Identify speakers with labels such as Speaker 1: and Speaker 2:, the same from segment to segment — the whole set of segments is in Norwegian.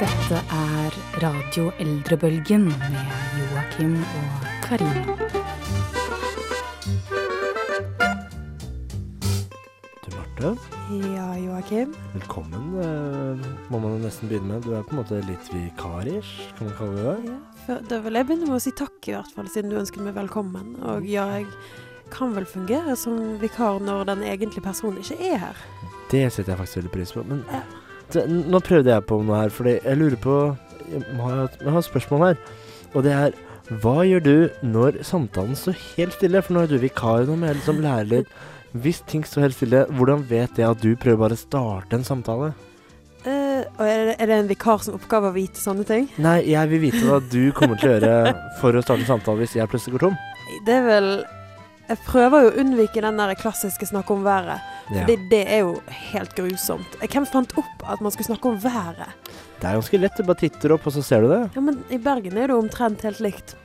Speaker 1: Dette er Radio Eldrebølgen med Joakim og Karina.
Speaker 2: Du Marte,
Speaker 3: Ja, Joakim.
Speaker 2: velkommen eh, må man jo nesten begynne med. Du er på en måte litt vikarish, kan man kalle det.
Speaker 3: Ja, for da vil jeg begynne med å si takk, i hvert fall, siden du ønsket meg velkommen. Og ja, jeg kan vel fungere som vikar når den egentlige personen ikke er her.
Speaker 2: Det setter jeg faktisk veldig pris på. Men
Speaker 3: Ja.
Speaker 2: det, nå prøvde jeg på noe her, fordi jeg lurer på Jeg har, jeg har et spørsmål her. Og det er Hva gjør du når samtalen står helt stille? For nå er du vikar, nå må jeg liksom lære litt. Hvis ting står helt stille, hvordan vet jeg at du prøver bare å starte en samtale?
Speaker 3: Eh, og er det, er det en vikar som oppgave å vite sånne ting?
Speaker 2: Nei, jeg vil vite hva du kommer til å gjøre for å starte en samtale hvis jeg plutselig går tom.
Speaker 3: Det er vel Jeg prøver jo å unnvike den der klassiske snakke om været.
Speaker 2: Ja.
Speaker 3: Det, det er jo helt grusomt. Hvem fant opp at man skulle snakke om været?
Speaker 2: Det er ganske lett. Du bare titter opp, og så ser du det.
Speaker 3: Ja, men i Bergen er det jo omtrent helt likt.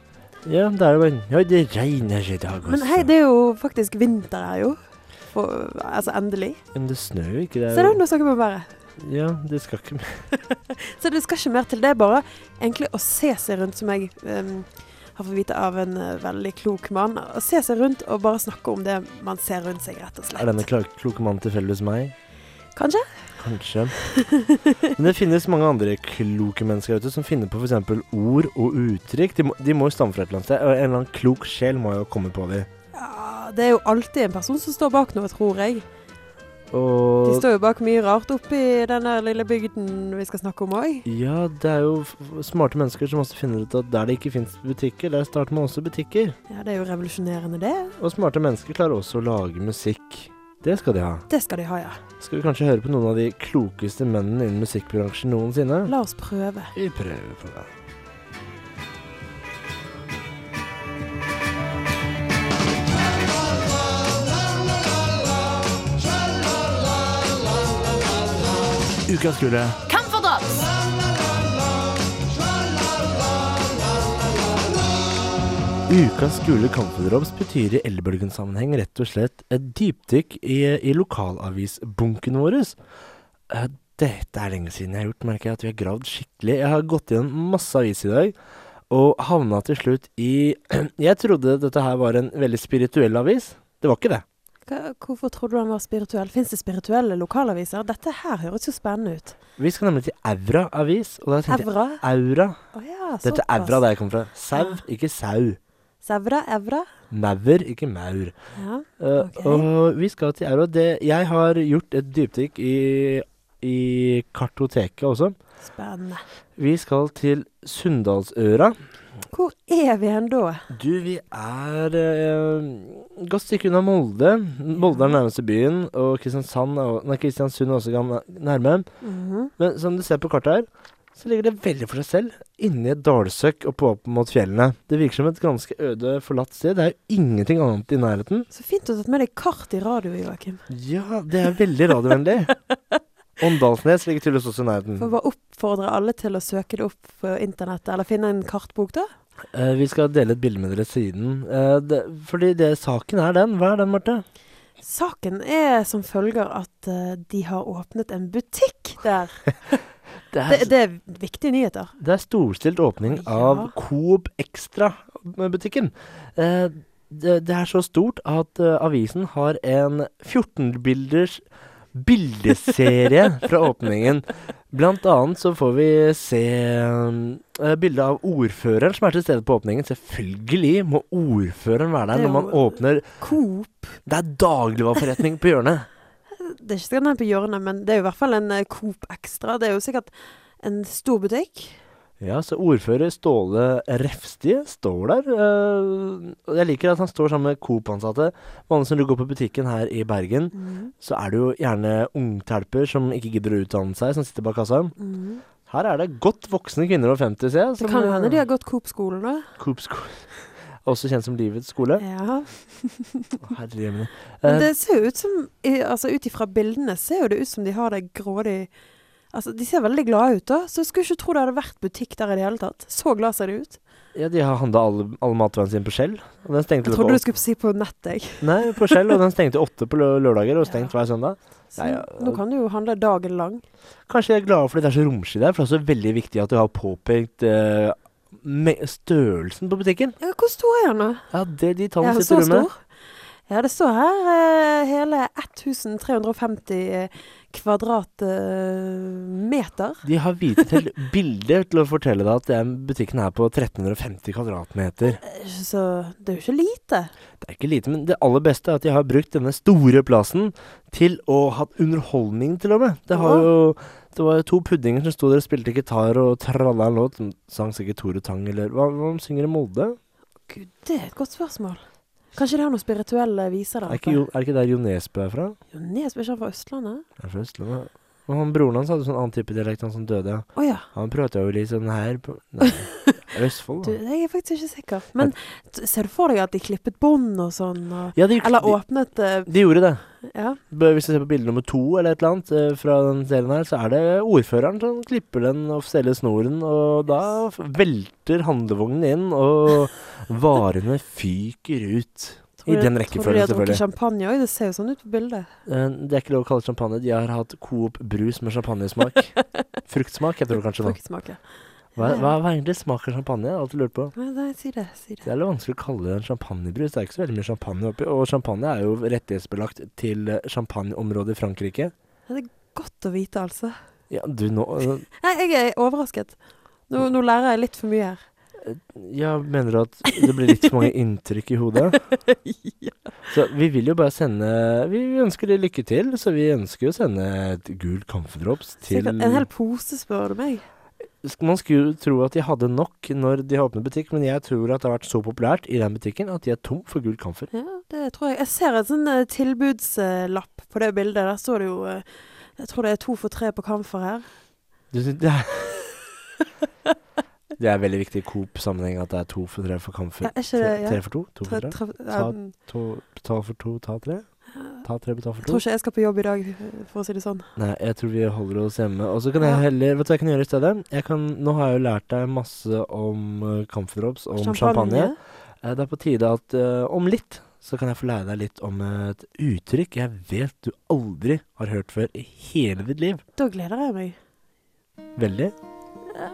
Speaker 2: Ja, det er jo bare Ja, det regner i dag altså. også.
Speaker 3: Men hei, det er jo faktisk vinter her, jo. For, altså endelig.
Speaker 2: Men det snør jo ikke. Det
Speaker 3: Se
Speaker 2: er
Speaker 3: da,
Speaker 2: jo
Speaker 3: nå snakker vi om været.
Speaker 2: Ja, det skal ikke mer.
Speaker 3: Så det skal ikke mer til. Det er bare egentlig å se seg rundt, som jeg ehm, har fått vite av en eh, veldig klok mann. Å se seg rundt og bare snakke om det man ser rundt seg, rett og
Speaker 2: Er denne
Speaker 3: slett.
Speaker 2: kla- kloke mannen tilfeldigvis meg?
Speaker 3: Kanskje?
Speaker 2: Kanskje. Men det finnes mange andre kloke mennesker ute som finner på f.eks. ord og uttrykk. De må, de må jo stamme fra et eller annet sted. Og en eller annen klok sjel må jo komme på dem.
Speaker 3: Ja, det er jo alltid en person som står bak noe, tror jeg. De
Speaker 2: Og
Speaker 3: står jo bak mye rart oppi den der lille bygden vi skal snakke om òg.
Speaker 2: ja, det er jo f- f- smarte mennesker som også finner ut at der det ikke fins butikker, der starter man også butikker.
Speaker 3: Ja, det er jo revolusjonerende, det.
Speaker 2: Og smarte mennesker klarer også å lage musikk. Det skal de ha.
Speaker 3: Det skal de ha, ja.
Speaker 2: Skal vi kanskje høre på noen av de klokeste mennene innen musikkbransjen noensinne?
Speaker 3: La oss prøve.
Speaker 2: Vi prøver på det. Ukas kule.
Speaker 4: Kampferdans!
Speaker 2: Ukas gule kampfudrops betyr i Elbølgen-sammenheng rett og slett et dypdykk i, i lokalavisbunken vår. Eh, Dette er lenge siden jeg har gjort, merker jeg at vi har gravd skikkelig. Jeg har gått gjennom masse aviser i dag, og havna til slutt i Jeg trodde dette her var en veldig spirituell avis. Det var ikke det.
Speaker 3: Hva, hvorfor trodde du han var spirituell? Fins det spirituelle lokalaviser? Dette her høres jo spennende ut.
Speaker 2: Vi skal nemlig til Aura avis, og der tenkte jeg
Speaker 3: Evra?
Speaker 2: Aura.
Speaker 3: Å ja, såpass.
Speaker 2: Dette er Aura der jeg kommer fra. Sau, ikke sau.
Speaker 3: Sevra? Evra?
Speaker 2: Maur, ikke maur.
Speaker 3: Ja.
Speaker 2: Eh,
Speaker 3: Ok.
Speaker 2: Og vi skal til euro. Det, jeg har gjort et dypdykk i, i kartoteket også.
Speaker 3: Spennende.
Speaker 2: Vi skal til Sunndalsøra.
Speaker 3: Hvor er vi hen da?
Speaker 2: Du, vi er eh, godt stykke unna Molde. Molde er den nærmeste byen, og Kristiansand er, o- nei, Kristiansund er også gam- nærme.
Speaker 3: Mhm.
Speaker 2: Men som du ser på kartet her, så ligger det veldig for seg selv. Inni et dalsøkk og på opp mot fjellene. Det virker som et ganske øde, forlatt sted. Det er jo ingenting annet i nærheten.
Speaker 3: Så fint du har tatt med deg kart i radio, Joakim.
Speaker 2: Ja, det er veldig radiovennlig. Åndalsnes ligger tydeligvis også i nærheten.
Speaker 3: Får bare oppfordre alle til å søke det opp på internettet, eller finne en kartbok, da.
Speaker 2: Eh, vi skal dele et bilde med dere siden. Eh, det, fordi det, saken er den. Hva er den, Marte?
Speaker 3: Saken er som følger at eh, de har åpnet en butikk der.
Speaker 2: Det er,
Speaker 3: Det, det er viktige nyheter.
Speaker 2: det er storstilt åpning av
Speaker 3: Ja.
Speaker 2: Coop Extra-butikken. Eh, det, det er så stort at eh, avisen har en 14-bilders bildeserie fra åpningen. Blant annet så får vi se uh, bilde av ordføreren som er til stede på åpningen. Selvfølgelig må ordføreren være
Speaker 3: Det
Speaker 2: der
Speaker 3: er
Speaker 2: når man
Speaker 3: jo-
Speaker 2: åpner
Speaker 3: Coop.
Speaker 2: Det er dagligvareforretning på hjørnet.
Speaker 3: Det er ikke sikkert den er på hjørnet, men det er jo i hvert fall en eh, Coop Extra. Det er jo sikkert en stor butikk.
Speaker 2: Ja, så ordfører Ståle Refstie står der. eh, og jeg liker at han står sammen med Coop-ansatte. Vanligvis når du går på butikken her i Bergen,
Speaker 3: Mhm.
Speaker 2: så er det jo gjerne ungtelper som ikke gidder å utdanne seg, som sitter bak kassa.
Speaker 3: Mhm. eh,
Speaker 2: Her er det godt voksne kvinner over 50, ser jeg.
Speaker 3: Det kan jo hende de har gått Coop-skolen, da.
Speaker 2: Coop-skole. Også kjent som Livets skole.
Speaker 3: Ja.
Speaker 2: Å, Herre jemine.
Speaker 3: Men
Speaker 2: Eh,
Speaker 3: det ser jo ut som i- Altså ut ifra bildene ser jo det ut som de har det grådig Altså de ser veldig glade ut da, så jeg skulle ikke tro det hadde vært butikk der i det hele tatt. Så glad ser de ut.
Speaker 2: Ja, de har handla alle, alle matvarene sine på Skjell. Og den stengte
Speaker 3: Jeg
Speaker 2: klokka
Speaker 3: trodde du
Speaker 2: åtte.
Speaker 3: skulle si på nett, jeg.
Speaker 2: Nei, på Skjell, og den stengte åtte på lø- lørdager og stengt
Speaker 3: Ja.
Speaker 2: hver søndag.
Speaker 3: Så
Speaker 2: Nei, ja,
Speaker 3: nå kan du jo handle dagen lang.
Speaker 2: Kanskje de er glade fordi det er så romslig der, for det er også veldig viktig at du har påpekt eh, me- størrelsen på butikken.
Speaker 3: Ja, hvor stor er den nå?
Speaker 2: Ja, det de
Speaker 3: Ja,
Speaker 2: tallene
Speaker 3: så
Speaker 2: sitter du med.
Speaker 3: stor? Ja, det står her eh, hele 1350 eh, kvadratmeter.
Speaker 2: De har vitet til bilder til å fortelle deg at den butikken er på 1350 kvadratmeter.
Speaker 3: Så det er jo ikke lite.
Speaker 2: Det er ikke lite, men det aller beste er at de har brukt denne store plassen til å ha underholdning, til og med. Det, har
Speaker 3: Ja.
Speaker 2: jo, det var jo to puddinger som sto der og spilte gitar og tralla en låt. som Sang sikkert Tore Tang, eller hva, hva de synger i Molde?
Speaker 3: Gud, det er et godt spørsmål. Kanskje de har noen spirituelle viser
Speaker 2: Er
Speaker 3: der
Speaker 2: ikke,
Speaker 3: oppe?
Speaker 2: Jo- er ikke der Jo Nesbø er fra?
Speaker 3: Jo, Nesbø er ikke han fra Østlandet?
Speaker 2: Er fra Østlandet. Og han, broren hans hadde sånn annen type dialekt, han som døde.
Speaker 3: Å ja.
Speaker 2: Han prata jo litt sånn her på Nei, er det Østfold,
Speaker 3: Du,
Speaker 2: da.
Speaker 3: jeg er faktisk ikke sikker. Men t- ser du for deg at de klippet bånd og sånn? Og,
Speaker 2: Ja, de,
Speaker 3: eller
Speaker 2: de,
Speaker 3: åpnet eh,
Speaker 2: de gjorde det.
Speaker 3: Ja.
Speaker 2: Bør- Hvis du ser på bilde nummer to eller et eller annet eh, fra den serien her, så er det ordføreren som klipper den offisielle snoren, og da f- velter handlevognen inn, og varene fyker ut.
Speaker 3: Tror
Speaker 2: I
Speaker 3: du-
Speaker 2: den
Speaker 3: Tror du de
Speaker 2: rekkefølgen,
Speaker 3: har drukket
Speaker 2: selvfølgelig.
Speaker 3: champagne òg? Det ser jo sånn ut på bildet.
Speaker 2: Eh, Det er ikke lov å kalle det champagne. De har hatt Coop brus med champagnesmak. Fruktsmak heter det kanskje nå.
Speaker 3: Fruktsmak, ja.
Speaker 2: Hva, hva hva egentlig smaker champagne? Jeg har alltid lurt på.
Speaker 3: Nei, nei, si det. Si
Speaker 2: Det
Speaker 3: det.
Speaker 2: er litt vanskelig å kalle det en champagnebrus. Det er ikke så veldig mye champagne oppi. Og champagne er jo rettighetsbelagt til eh, champagneområdet i Frankrike.
Speaker 3: Godt å vite, altså.
Speaker 2: Ja, du nå eh,
Speaker 3: Nei, jeg er overrasket. Nå, nå lærer jeg litt for mye her.
Speaker 2: Ja, mener du at det blir litt for mange inntrykk i hodet? Så vi vil jo bare sende Vi vi ønsker deg lykke til, så vi ønsker å sende et gult kampferdrops til
Speaker 3: Sikkert en hel pose, spør du meg.
Speaker 2: Sk- Man skulle jo tro at de hadde nok når de har åpnet butikk, men jeg tror at det har vært så populært i den butikken at de er tom for gult kamfer.
Speaker 3: Ja, det tror jeg. Jeg ser en sånn eh, tilbudslapp på det bildet. Der står det jo eh, Jeg tror det er to for tre på kamfer her.
Speaker 2: Du synes det er Det er veldig viktig i Coop-sammenheng at det er to for tre for kamfer.
Speaker 3: Ja, er ikke det
Speaker 2: Tre-
Speaker 3: ja.
Speaker 2: Tre for to, to
Speaker 3: Tre,
Speaker 2: for tre.
Speaker 3: tre,
Speaker 2: Ta-
Speaker 3: um,
Speaker 2: To, betal for to, ta tre. Ta tre, betal
Speaker 3: jeg
Speaker 2: for
Speaker 3: tror
Speaker 2: to.
Speaker 3: ikke jeg skal på jobb i dag, for å si det sånn.
Speaker 2: Nei, jeg tror vi holder oss hjemme. Og så kan
Speaker 3: Ja.
Speaker 2: jeg heller Vet du hva jeg kan gjøre i stedet? Jeg kan, nå har jeg jo lært deg masse om eh, Kampferdrops, om champagne. Eh, Det er på tide at eh, om litt så kan jeg få lære deg litt om et uttrykk jeg vet du aldri har hørt før i hele ditt liv.
Speaker 3: Da gleder jeg meg.
Speaker 2: Veldig.
Speaker 3: Ja,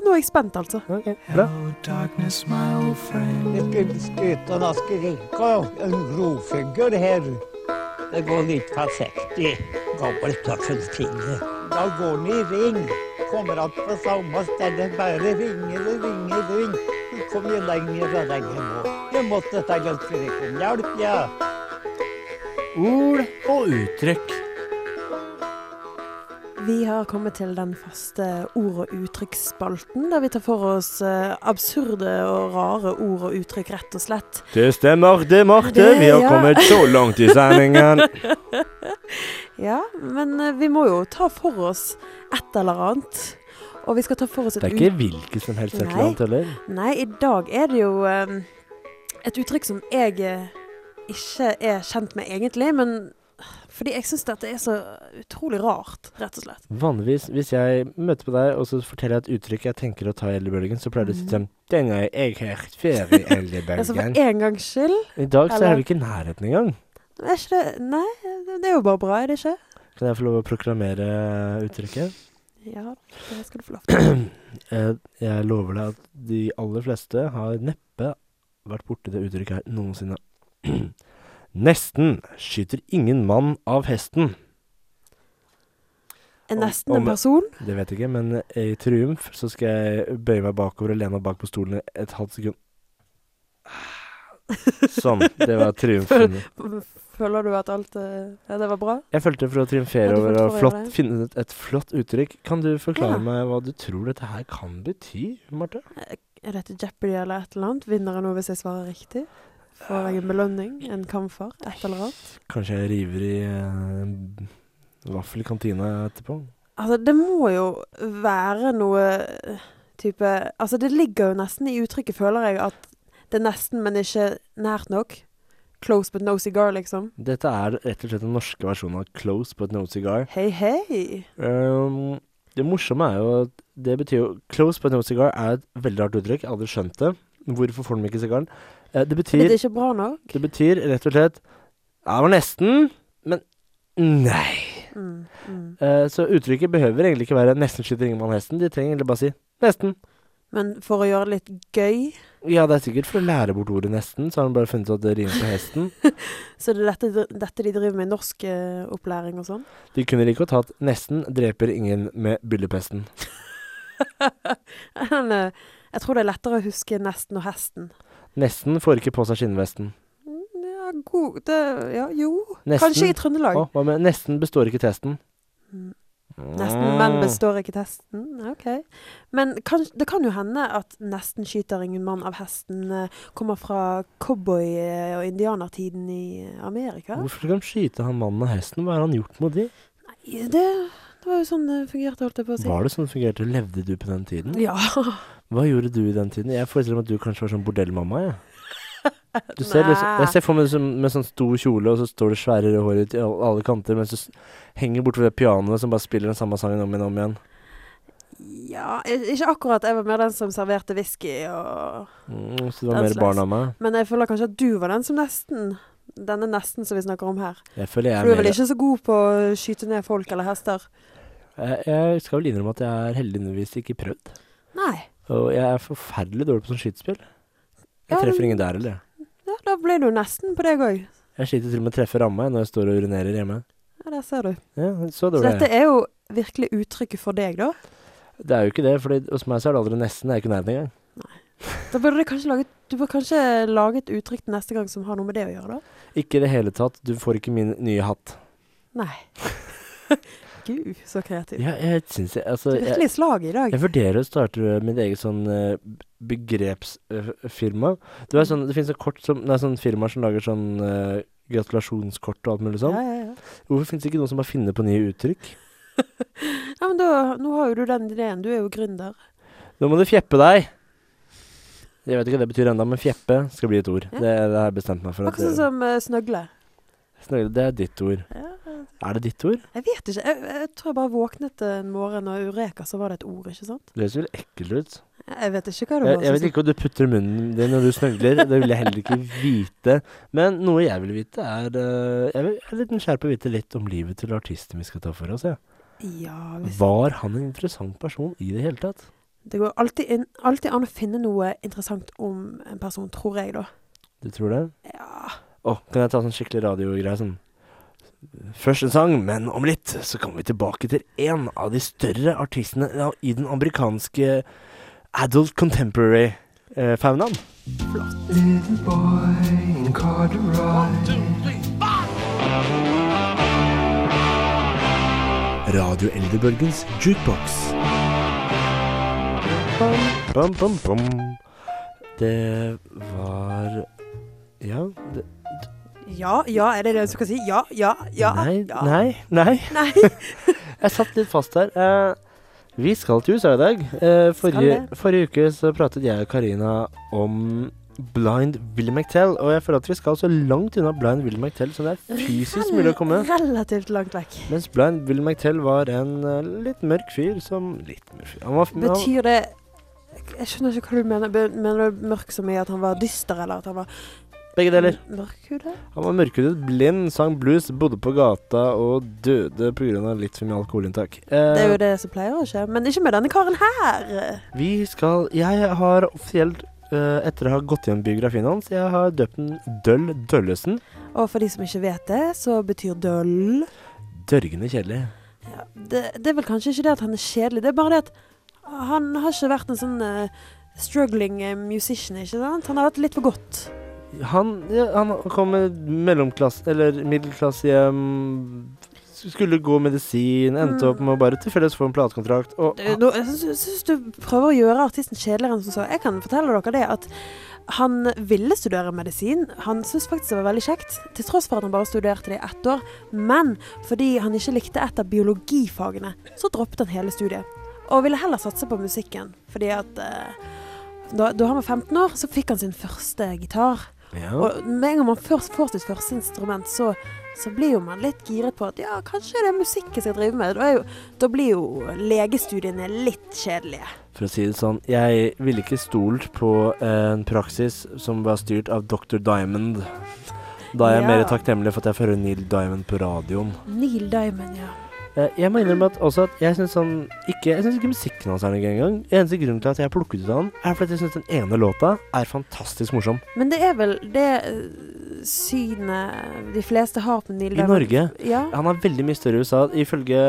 Speaker 3: nå er jeg spent, altså.
Speaker 2: Ok, bra.
Speaker 4: darkness, my old friend.
Speaker 5: Det skulle skutt og da skulle rykke en grofigur her. Det går litt forsiktig. Gammel tøffelfinger. Da går den i ring. Kommer att på samme sted. Bare ringer og ringer og ringer. Du kommer jo lenger og lenger nå. Jeg måtte ta litt skrike om hjelp, ja.
Speaker 2: Ord og uttrykk.
Speaker 3: Vi har kommet til den faste ord- og uttrykksspalten, der vi tar for oss eh, absurde og rare ord og uttrykk, rett og slett.
Speaker 2: Det stemmer, det, Marte.
Speaker 3: Det, Vi har ja. kommet
Speaker 2: så langt i sendingen.
Speaker 3: Ja, men eh, vi må jo ta for oss et eller annet. Og vi skal ta for oss et
Speaker 2: Det er
Speaker 3: ut-
Speaker 2: ikke hvilket som helst et eller annet heller.
Speaker 3: Nei, i dag er det jo eh, et uttrykk som jeg eh, ikke er kjent med egentlig, men fordi jeg syns dette er så utrolig rart, rett og slett.
Speaker 2: Vanligvis hvis jeg møter på deg og så forteller jeg et uttrykk jeg tenker å ta i Eldrebølgen, så pleier du å si sånn Den har jeg hørt før i
Speaker 3: Mm. Altså for
Speaker 2: Eldrebølgen.
Speaker 3: en gangs skyld
Speaker 2: I dag så
Speaker 3: Eller-
Speaker 2: er vi ikke i nærheten engang.
Speaker 3: er ikke det, Nei, det er jo bare bra, er det ikke?
Speaker 2: Kan jeg få lov å proklamere eh, uttrykket?
Speaker 3: Ja, det skal du få lov til.
Speaker 2: Eh, Jeg lover deg at de aller fleste har neppe vært borti det uttrykket her noensinne. Nesten skyter ingen mann av hesten.
Speaker 3: En
Speaker 2: Om-
Speaker 3: nesten
Speaker 2: om-
Speaker 3: en person.
Speaker 2: Det vet jeg ikke, men i triumf så skal jeg bøye meg bakover og lene meg bak på stolen i et halvt sekund. Sånn. Det var triumfen.
Speaker 3: Føler du at alt eh, Ja, det var bra?
Speaker 2: Jeg følte for å triumfere
Speaker 3: Ja, du
Speaker 2: over å
Speaker 3: følte for å gjøre
Speaker 2: flott,
Speaker 3: det.
Speaker 2: finne et, et flott uttrykk. Kan du forklare
Speaker 3: Ja.
Speaker 2: meg hva du tror dette her kan bety, Marte?
Speaker 3: Er dette Jeopardy eller et eller annet? Vinner jeg noe hvis jeg svarer riktig? Får jeg en belønning? En kamfer? Et eller annet?
Speaker 2: Kanskje jeg river i eh, en vaffel i kantina etterpå?
Speaker 3: Altså, det må jo være noe eh, type Altså, det ligger jo nesten i uttrykket, føler jeg, at det er nesten, men ikke nært nok. Close but no cigar, liksom.
Speaker 2: Dette er rett og slett den norske versjonen av Close but no cigar.
Speaker 3: Hei, hei.
Speaker 2: Um, Det morsomme er jo at Det betyr jo Close but no cigar er et veldig rart uttrykk. Jeg har aldri skjønt det. Hvorfor får de ikke sigaren? Eh, Det
Speaker 3: Er
Speaker 2: betyr,
Speaker 3: det ikke bra nok?
Speaker 2: det betyr rett og slett Ja, det var nesten, men nei.
Speaker 3: Mm, mm.
Speaker 2: Eh, Så uttrykket behøver egentlig ikke være 'nesten skyter Ingemann hesten'. De trenger egentlig bare si 'nesten'.
Speaker 3: Men for å gjøre det litt gøy,
Speaker 2: Ja, det er sikkert for å lære bort ordet 'nesten', så har han bare funnet ut at det rimer på hesten.
Speaker 3: så det er dette, dette de driver med i norsk eh, opplæring og sånn.
Speaker 2: De kunne like godt hatt 'nesten dreper ingen med byllepesten'.
Speaker 3: Men, eh, jeg tror det er lettere å huske nesten og hesten.
Speaker 2: Nesten får ikke på seg skinnvesten.
Speaker 3: Mm, Ja, god det, ja, Jo,
Speaker 2: Nesten.
Speaker 3: kanskje i Trøndelag.
Speaker 2: Å, hva med 'nesten består ikke testen'? Mm.
Speaker 3: Mm.
Speaker 2: Ah.
Speaker 3: Nesten, men består ikke testen. Ok. Men kan, det kan jo hende at 'nesten skyter ingen mann av hesten' eh, kommer fra cowboy- eh, og indianertiden i eh, Amerika.
Speaker 2: Hvorfor skal de skyte han mannen av hesten? Hva har han gjort mot de?
Speaker 3: Nei, det, det var jo sånn det fungerte, holdt jeg på å si.
Speaker 2: Var det sånn det fungerte? Levde du på den tiden?
Speaker 3: Ja.
Speaker 2: Hva gjorde du i den tiden? Jeg forestiller meg at du kanskje var sånn bordellmamma, jeg. Du ser, liksom,
Speaker 3: Nei.
Speaker 2: jeg ser for meg liksom, med sånn stor kjole, og så står det svære røde hår ut i al- alle kanter, mens du s- henger bortover det pianoet som bare spiller den samme sangen om igjen og om igjen.
Speaker 3: ja. i- Ikke akkurat. Jeg var mer den som serverte whisky og
Speaker 2: Mm, så det var
Speaker 3: Den
Speaker 2: mer
Speaker 3: slags.
Speaker 2: barn av meg.
Speaker 3: Men jeg føler kanskje at du var den som nesten Denne nesten som vi snakker om her.
Speaker 2: Jeg føler jeg
Speaker 3: For du
Speaker 2: er
Speaker 3: er vel
Speaker 2: mer
Speaker 3: ikke så god på å skyte ned folk eller hester?
Speaker 2: jeg, jeg skal vel innrømme at jeg er heldigvis ikke prøvd.
Speaker 3: Nei.
Speaker 2: Og jeg er forferdelig dårlig på sånn skytespill. Jeg
Speaker 3: Ja, men-
Speaker 2: treffer ingen der heller, jeg.
Speaker 3: Ja, da ble du nesten på deg òg.
Speaker 2: Jeg sliter til og med å treffe ramma jeg, når jeg står og urinerer hjemme.
Speaker 3: Ja, der ser du.
Speaker 2: Ja, så
Speaker 3: Så
Speaker 2: dårlig er jeg.
Speaker 3: dette er jo virkelig uttrykket for deg, da.
Speaker 2: Det er jo ikke det, for hos meg så er det aldri nesten. Det er ikke nærheten engang.
Speaker 3: Da burde du kanskje lage, du bør kanskje lage et uttrykk til neste gang som har noe med det å gjøre, da.
Speaker 2: Ikke i det hele tatt. Du får ikke min nye hatt.
Speaker 3: Nei. Gud, så kreativ.
Speaker 2: Ja, jeg syns jeg Altså,
Speaker 3: Du er
Speaker 2: jeg,
Speaker 3: virkelig i slaget i dag.
Speaker 2: jeg vurderer å starte mitt eget sånn begrepsfirma. Det, sånn, det finnes sånn kort som Nei, sånn firmaer som lager sånn eh, gratulasjonskort og alt mulig
Speaker 3: Ja,
Speaker 2: sånn.
Speaker 3: ja, ja.
Speaker 2: Hvorfor finnes det ikke noen som bare finner på nye uttrykk?
Speaker 3: ja, men da, nå har jo du den ideen. Du er jo gründer.
Speaker 2: Nå må du fjeppe deg! Jeg vet ikke hva det betyr ennå, men fjeppe skal bli et ord.
Speaker 3: Ja.
Speaker 2: Det, det har jeg bestemt meg for. At
Speaker 3: Akkurat sånn
Speaker 2: det,
Speaker 3: som eh, snøgle.
Speaker 2: Snøgle, det er ditt ord.
Speaker 3: Ja,
Speaker 2: Er det ditt ord?
Speaker 3: jeg vet ikke. Jeg, jeg tror jeg bare våknet en morgen, og eureka, så var det et ord, ikke sant?
Speaker 2: Det høres vel ekkelt ut.
Speaker 3: Jeg vet ikke hva det
Speaker 2: Jeg,
Speaker 3: var. sånn-
Speaker 2: jeg
Speaker 3: som-
Speaker 2: vet ikke hva du putter i munnen din når du snøgler. Det vil jeg heller ikke vite. Men noe jeg vil vite, er eh, Jeg vil- jeg er litt nysgjerrig på å vite litt om livet til artisten vi skal ta for oss. Ja.
Speaker 3: Ja, hvis
Speaker 2: Var han en interessant person i det hele tatt?
Speaker 3: Det går alltid, inn, alltid an å finne noe interessant om en person, tror jeg, da.
Speaker 2: Du tror det?
Speaker 3: Ja.
Speaker 2: Å, kan jeg ta sånn skikkelig radiogreie sånn? Først en sang, men om litt så kommer vi tilbake til en av de større artistene ja, i den amerikanske adult eh, contemporary-faunaen.
Speaker 4: Little boy in corduroy.
Speaker 2: Radio Eldrebølgens jukebox. Bam, bam, bam. Det var Ja. Det,
Speaker 3: Ja, ja, er det det du skal si? Ja, ja, ja.
Speaker 2: nei,
Speaker 3: ja.
Speaker 2: nei, nei.
Speaker 3: Nei.
Speaker 2: Jeg satt litt fast der. Eh, vi skal til USA i dag. Eh, forrige, forrige uke så pratet jeg og Karina om Blind Willy McTell, og jeg føler at vi skal så langt unna Blind Willy McTell som det er fysisk mulig å komme.
Speaker 3: Relativt langt vekk.
Speaker 2: Mens Blind Willy McTell var en eh, litt mørk fyr som Litt mørk fyr. Han var, han,
Speaker 3: Betyr det Jeg skjønner ikke hva du mener. Be- Mener du mørk så mye at han var dyster, eller at han var
Speaker 2: begge deler.
Speaker 3: mørkhudet?
Speaker 2: Han var mørkhudet, blind, sang blues, bodde på gata og døde pga. litt for mye alkoholinntak.
Speaker 3: Det er jo
Speaker 2: Eh,
Speaker 3: det som pleier å skje, men ikke med denne karen her.
Speaker 2: vi skal Jeg har offisielt, eh, etter å ha gått gjennom biografien hans, jeg har døpt den Døll Døllesen.
Speaker 3: Og for de som ikke vet det, så betyr døll
Speaker 2: Dørgende kjedelig.
Speaker 3: ja, det, det er vel kanskje ikke det at han er kjedelig, det er bare det at han har ikke vært en sånn eh, struggling eh, musician, ikke sant? Han har hatt litt for godt.
Speaker 2: Han, ja, han kom med mellomklasse, eller middelklassehjem Skulle gå medisin, endte opp med å bare tilfeldigvis få en platekontrakt. Og
Speaker 3: Du, nå, jeg syns- syns du prøver å gjøre artisten kjedeligere enn som så. Jeg kan fortelle dere det at han ville studere medisin. Han syntes faktisk det var veldig kjekt, til tross for at han bare studerte det i ett år. Men fordi han ikke likte et av biologifagene, så droppet han hele studiet. Og ville heller satse på musikken, fordi at eh, da, da han var 15 år, så fikk han sin første gitar.
Speaker 2: Ja.
Speaker 3: Og med en gang man først får sitt første instrument, så, så blir jo man litt giret på at ja, kanskje det er musikk jeg skal drive med. Da, er jo, da blir jo legestudiene litt kjedelige.
Speaker 2: For å si det sånn, jeg ville ikke stolt på eh, en praksis som var styrt av Dr. Diamond. Da er jeg
Speaker 3: Ja.
Speaker 2: mer takknemlig for at jeg får høre Neil Diamond på radioen.
Speaker 3: Neil Diamond, ja.
Speaker 2: Eh, Jeg må innrømme at også at jeg syns han ikke Jeg synes ikke musikken hans er noe gøy engang. Eneste grunnen til at jeg plukket ut han, er fordi at jeg syns den ene låta er fantastisk morsom.
Speaker 3: Men det er vel det eh, synet de fleste har på
Speaker 2: I
Speaker 3: Neil Diamond.
Speaker 2: Norge
Speaker 3: Ja.
Speaker 2: Han er veldig mye større i USA. Ifølge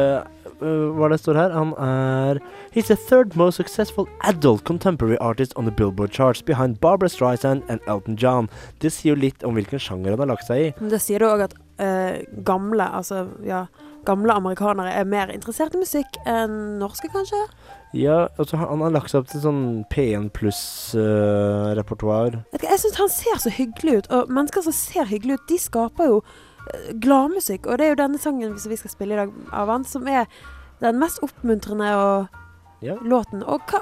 Speaker 2: øh, hva det står her Han er He's the third most successful adult contemporary artist on the Billboard charts behind Barbara Streisand and Elton John. Det sier jo litt om hvilken sjanger han har lagt seg i.
Speaker 3: Men det sier du òg at eh, gamle, altså ja, gamle amerikanere er mer interessert i musikk enn norske, kanskje?
Speaker 2: Ja, altså Han han har lagt seg opp til sånn P1 øh, pluss-repertoar.
Speaker 3: Vet ikke, Jeg syns han ser så hyggelig ut, og mennesker som ser hyggelig ut, de skaper jo eh, gladmusikk. Og det er jo denne sangen som vi skal spille i dag av han, som er den mest oppmuntrende og
Speaker 2: Ja.
Speaker 3: låten. Og hva,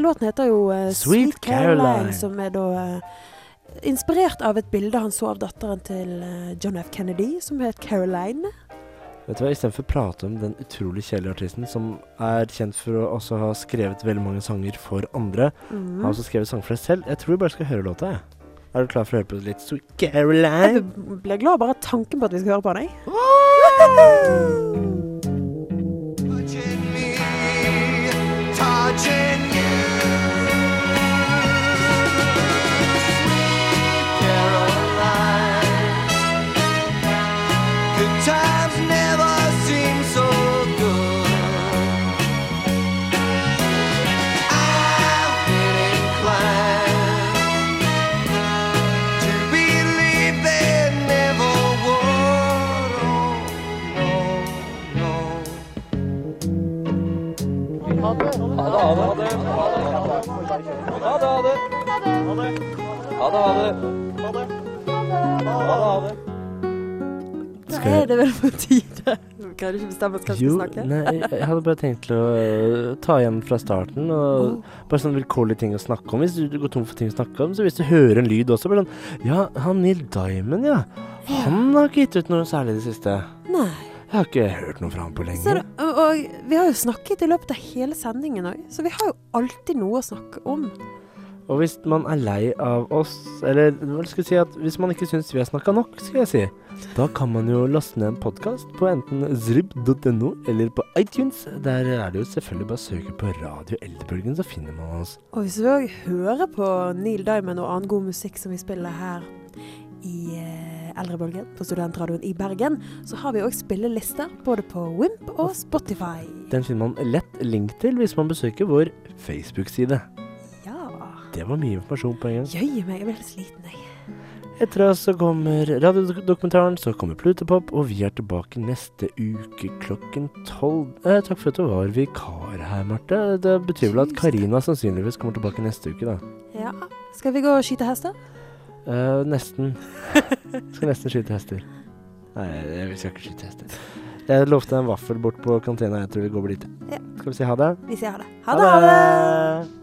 Speaker 3: låten heter jo eh,
Speaker 2: Sweet
Speaker 3: Sweet Caroline,
Speaker 2: Caroline.
Speaker 3: som er da eh, inspirert av et bilde han så av datteren til eh, John F. Kennedy, som het Caroline.
Speaker 2: Vet du hva, Istedenfor å prate om den utrolig kjedelige artisten som er kjent for å også ha skrevet veldig mange sanger for andre,
Speaker 3: Mm.
Speaker 2: har også skrevet sanger for seg selv. Jeg tror vi bare skal høre låta, jeg. Er du klar for å høre på litt Sweet
Speaker 3: Jeg
Speaker 2: Caroline?
Speaker 3: ble glad bare av tanken på at vi skal høre på han, jeg.
Speaker 4: Touching me, touching you. Sweet Caroline. Good times never seem so good. I've been inclined to believe they never would. Oh, no, no.
Speaker 3: Da
Speaker 2: Skal jeg-
Speaker 3: er det vel på tide. Kan du ikke bestemme oss hva vi
Speaker 2: Jo,
Speaker 3: skal snakke?
Speaker 2: nei, jeg hadde bare tenkt til å øh, ta igjen fra starten. Og Bare sånn vilkårlige ting å snakke om. Hvis du går tom for ting å snakke om, så hvis du hører en lyd også, bare sånn Ja, han Neil Diamond, ja. Han har ikke gitt ut noe særlig i det siste.
Speaker 3: Nei.
Speaker 2: Jeg har ikke hørt noe fra han på
Speaker 3: Ser
Speaker 2: lenge.
Speaker 3: du, og, og vi har jo snakket i løpet av hele sendingen òg, så vi har jo alltid noe å snakke om.
Speaker 2: Og hvis man er lei av oss, eller hva skal jeg si at hvis man ikke syns vi har snakka nok, skal jeg si, da kan man jo laste ned en podkast på enten zrib.no eller på iTunes. Der er det jo selvfølgelig bare å søke på Radio Eldrebølgen, så finner man oss.
Speaker 3: Og hvis vi òg hører på Neil Diamond og annen god musikk som vi spiller her i eh, Eldrebølgen på Studentradioen i Bergen, så har vi òg spillelister både på Wimp og Spotify.
Speaker 2: Den finner man lett link til hvis man besøker vår Facebook-side.
Speaker 3: Ja.
Speaker 2: Det var mye informasjon på en gang.
Speaker 3: Jøye meg, jeg blir litt sliten, jeg.
Speaker 2: Etter oss så kommer radiodokumentaren, så kommer Plutopop, og vi er tilbake neste uke klokken tolv. Eh, takk for at du var vikar her, Marte. Det betyr vel at Karina sannsynligvis kommer tilbake neste uke, da.
Speaker 3: Ja. Skal vi gå og skyte hester?
Speaker 2: Eh, nesten. Skal nesten skyte hester. Nei, jeg skal ikke skyte hester. Jeg lovte en vaffel bort på kantina. Jeg tror vi går dit.
Speaker 3: Ja.
Speaker 2: Skal vi si ha det?
Speaker 3: Vi sier ha det. Ha det! Ha det.
Speaker 2: det!